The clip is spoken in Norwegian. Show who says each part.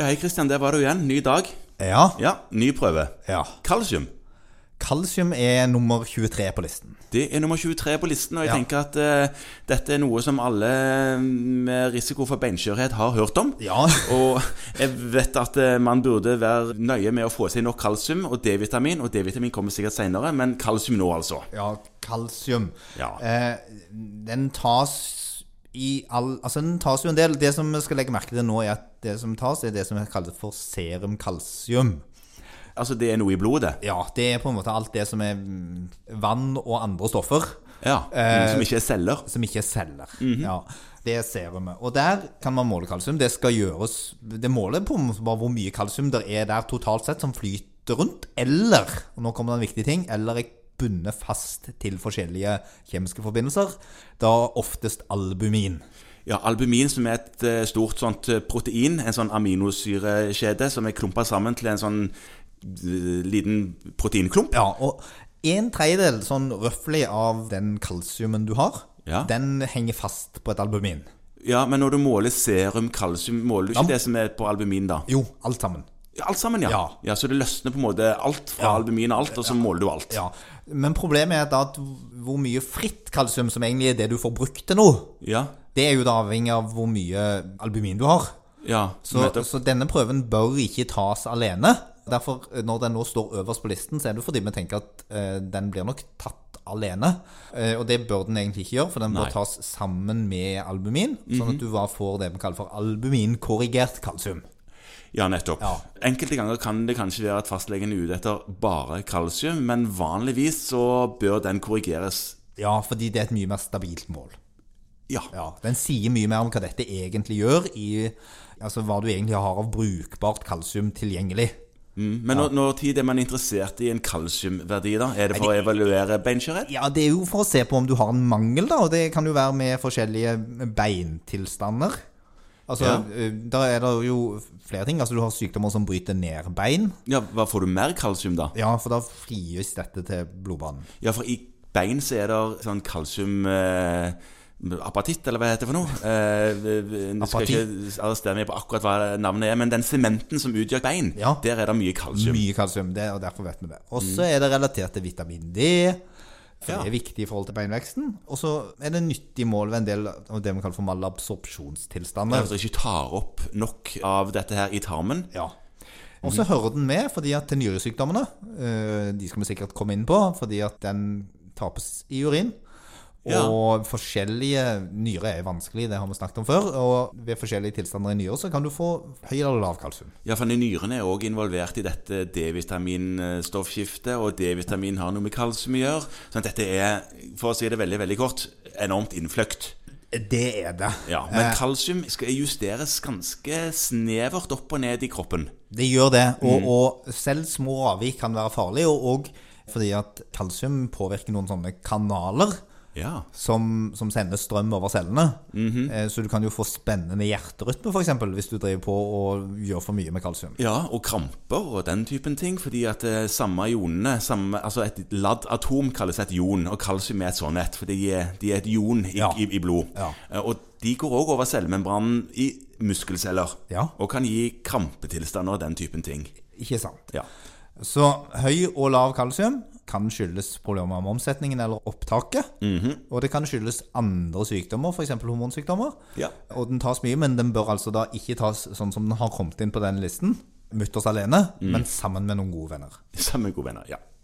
Speaker 1: hei, Christian. Der var du igjen. Ny dag.
Speaker 2: Ja.
Speaker 1: Ja, ny prøve.
Speaker 2: ja.
Speaker 1: Kalsium.
Speaker 2: Kalsium er nummer 23 på listen.
Speaker 1: Det er nummer 23 på listen, og jeg
Speaker 2: Ja.
Speaker 1: tenker at eh, dette er noe som alle eh, med risiko for beinskjørhet har hørt om.
Speaker 2: Ja.
Speaker 1: Og jeg vet at eh, man burde være nøye med å få i seg nok kalsium og D-vitamin. Og D-vitamin kommer sikkert seinere, men kalsium nå, altså.
Speaker 2: Ja, kalsium.
Speaker 1: Ja.
Speaker 2: Eh, den tas i all Altså, den tas jo en del. Det som vi skal legge merke til nå, er at det som tas, er det som kalles for serum kalsium.
Speaker 1: Altså, det er noe i blodet.
Speaker 2: Ja, det er på en måte alt det som er mm, vann og andre stoffer
Speaker 1: Ja. Eh, som ikke er celler.
Speaker 2: som ikke er celler. Ja, det er serumet. Og der kan man måle kalsium. Det skal gjøres Det måler på om- bare hvor mye kalsium det er der totalt sett som flyter rundt, eller og Nå kommer det en viktig ting. Eller er bundet fast til forskjellige kjemiske forbindelser. Da oftest albumin.
Speaker 1: Ja, Albumin, som er et eh, stort sånt eh, protein, en sånn aminosyrekjede som er klumpa sammen til en sånn eh, liten proteinklump.
Speaker 2: Ja, og en tredjedel sånn røffelig av den kalsiumen du har,
Speaker 1: Ja.
Speaker 2: den henger fast på et albumin.
Speaker 1: Ja, Men når du måler serum kalsium, måler du ikke
Speaker 2: Ja.
Speaker 1: det som er på albumin da?
Speaker 2: Jo, alt sammen.
Speaker 1: Alt sammen, ja. ja.
Speaker 2: Ja.
Speaker 1: Så det løsner på en måte alt fra
Speaker 2: Ja.
Speaker 1: albumin og alt, og så måler du alt.
Speaker 2: Ja, Men problemet er da at hvor mye fritt kalsium, som egentlig er det du får brukt til noe,
Speaker 1: Ja.
Speaker 2: Det er jo da avhengig av hvor mye albumin du har.
Speaker 1: ja.
Speaker 2: Så,
Speaker 1: nettopp.
Speaker 2: så denne prøven bør ikke tas alene. Derfor, eh, når den nå står øverst på listen, så er det fordi vi tenker at eh, den blir nok tatt alene. Eh, og det bør den egentlig ikke gjøre, for den
Speaker 1: Nei. Mhm.
Speaker 2: bør tas sammen med albumin. Sånn at du da får det vi kaller for albuminkorrigert kalsium.
Speaker 1: Ja, nettopp.
Speaker 2: Ja.
Speaker 1: Enkelte ganger kan det kanskje være at fastlegen er ute etter bare kalsium, men vanligvis så bør den korrigeres.
Speaker 2: Ja, fordi det er et mye mer stabilt mål.
Speaker 1: Ja.
Speaker 2: Ja, Den sier mye mer om hva dette egentlig gjør, i, altså hva du egentlig har av brukbart kalsium tilgjengelig.
Speaker 1: Mm. Men når, når tid er man interessert i en kalsiumverdi, da? Er det for å evaluere beinskjørhet?
Speaker 2: Ja, det er jo for å se på om du har en mangel, da. Og det kan jo være med forskjellige beintilstander. Altså,
Speaker 1: Ja.
Speaker 2: eh, Da er det jo flere ting. Altså, Du har sykdommer som bryter ned bein.
Speaker 1: Ja, hva får du mer kalsium, da?
Speaker 2: Ja, for da frigjøres dette til blodbanen.
Speaker 1: Ja, for i bein så er det sånn kalsium... Eh, Apatitt, eller hva heter det for noe? Eh, jeg skal ikke arrestere meg på akkurat hva navnet er, men den sementen som utgjør bein,
Speaker 2: Ja.
Speaker 1: der er det mye kalsium. Mm.
Speaker 2: Mye kalsium, det, og derfor vet vi det. Og så er det relatert til vitamin D. For
Speaker 1: Ja.
Speaker 2: det er viktig i forhold til beinveksten. Og så er det nyttig mål ved en del av det vi kaller for malabsorpsjonstilstander.
Speaker 1: At du ikke tar opp nok av dette her i tarmen.
Speaker 2: Ja. Og så hører den med fordi at til nyresykdommene. eh, De skal vi sikkert komme inn på, fordi at den tapes i urin. Og
Speaker 1: Ja.
Speaker 2: forskjellige nyrer er vanskelig, det har vi snakket om før. Og ved forskjellige tilstander i nyrer så kan du få høy eller lav kalsium.
Speaker 1: Ja, for nyrene er òg involvert i dette D-vitaminstoffskiftet, og D-vitamin har noe med kalsium å gjøre. Sånn at dette er, for å si det veldig, veldig kort, enormt innfløkt.
Speaker 2: Det er det.
Speaker 1: Ja, Men kalsium skal justeres ganske snevert opp og ned i kroppen.
Speaker 2: Eh, Det gjør det. Og, og selv små avvik kan være farlig, og, og fordi at kalsium påvirker noen sånne kanaler.
Speaker 1: Ja.
Speaker 2: som, som sender strøm over cellene. Eh, Så du kan jo få spennende hjerterytme, f.eks., hvis du driver på og gjør for mye med kalsium.
Speaker 1: Ja, og kramper og den typen ting, fordi at eh, samme ionene samme, Altså et ladd atom kalles et ion, og kalsium er et sånt et, for de er, de er et ion i,
Speaker 2: Ja.
Speaker 1: i, i blod.
Speaker 2: Ja.
Speaker 1: Eh, Og de går òg over cellemembranen i muskelceller,
Speaker 2: Ja.
Speaker 1: og kan gi krampetilstander og den typen ting.
Speaker 2: Ikke sant?
Speaker 1: Ja.
Speaker 2: Så høy og lav kalsium kan skyldes problemer med omsetningen eller opptaket. Og det kan skyldes andre sykdommer, f.eks. hormonsykdommer.
Speaker 1: Ja.
Speaker 2: Og den tas mye, men den bør altså da ikke tas sånn som den har kommet inn på den listen, mutters alene, men sammen med noen gode venner.
Speaker 1: Sammen med gode venner. Ja.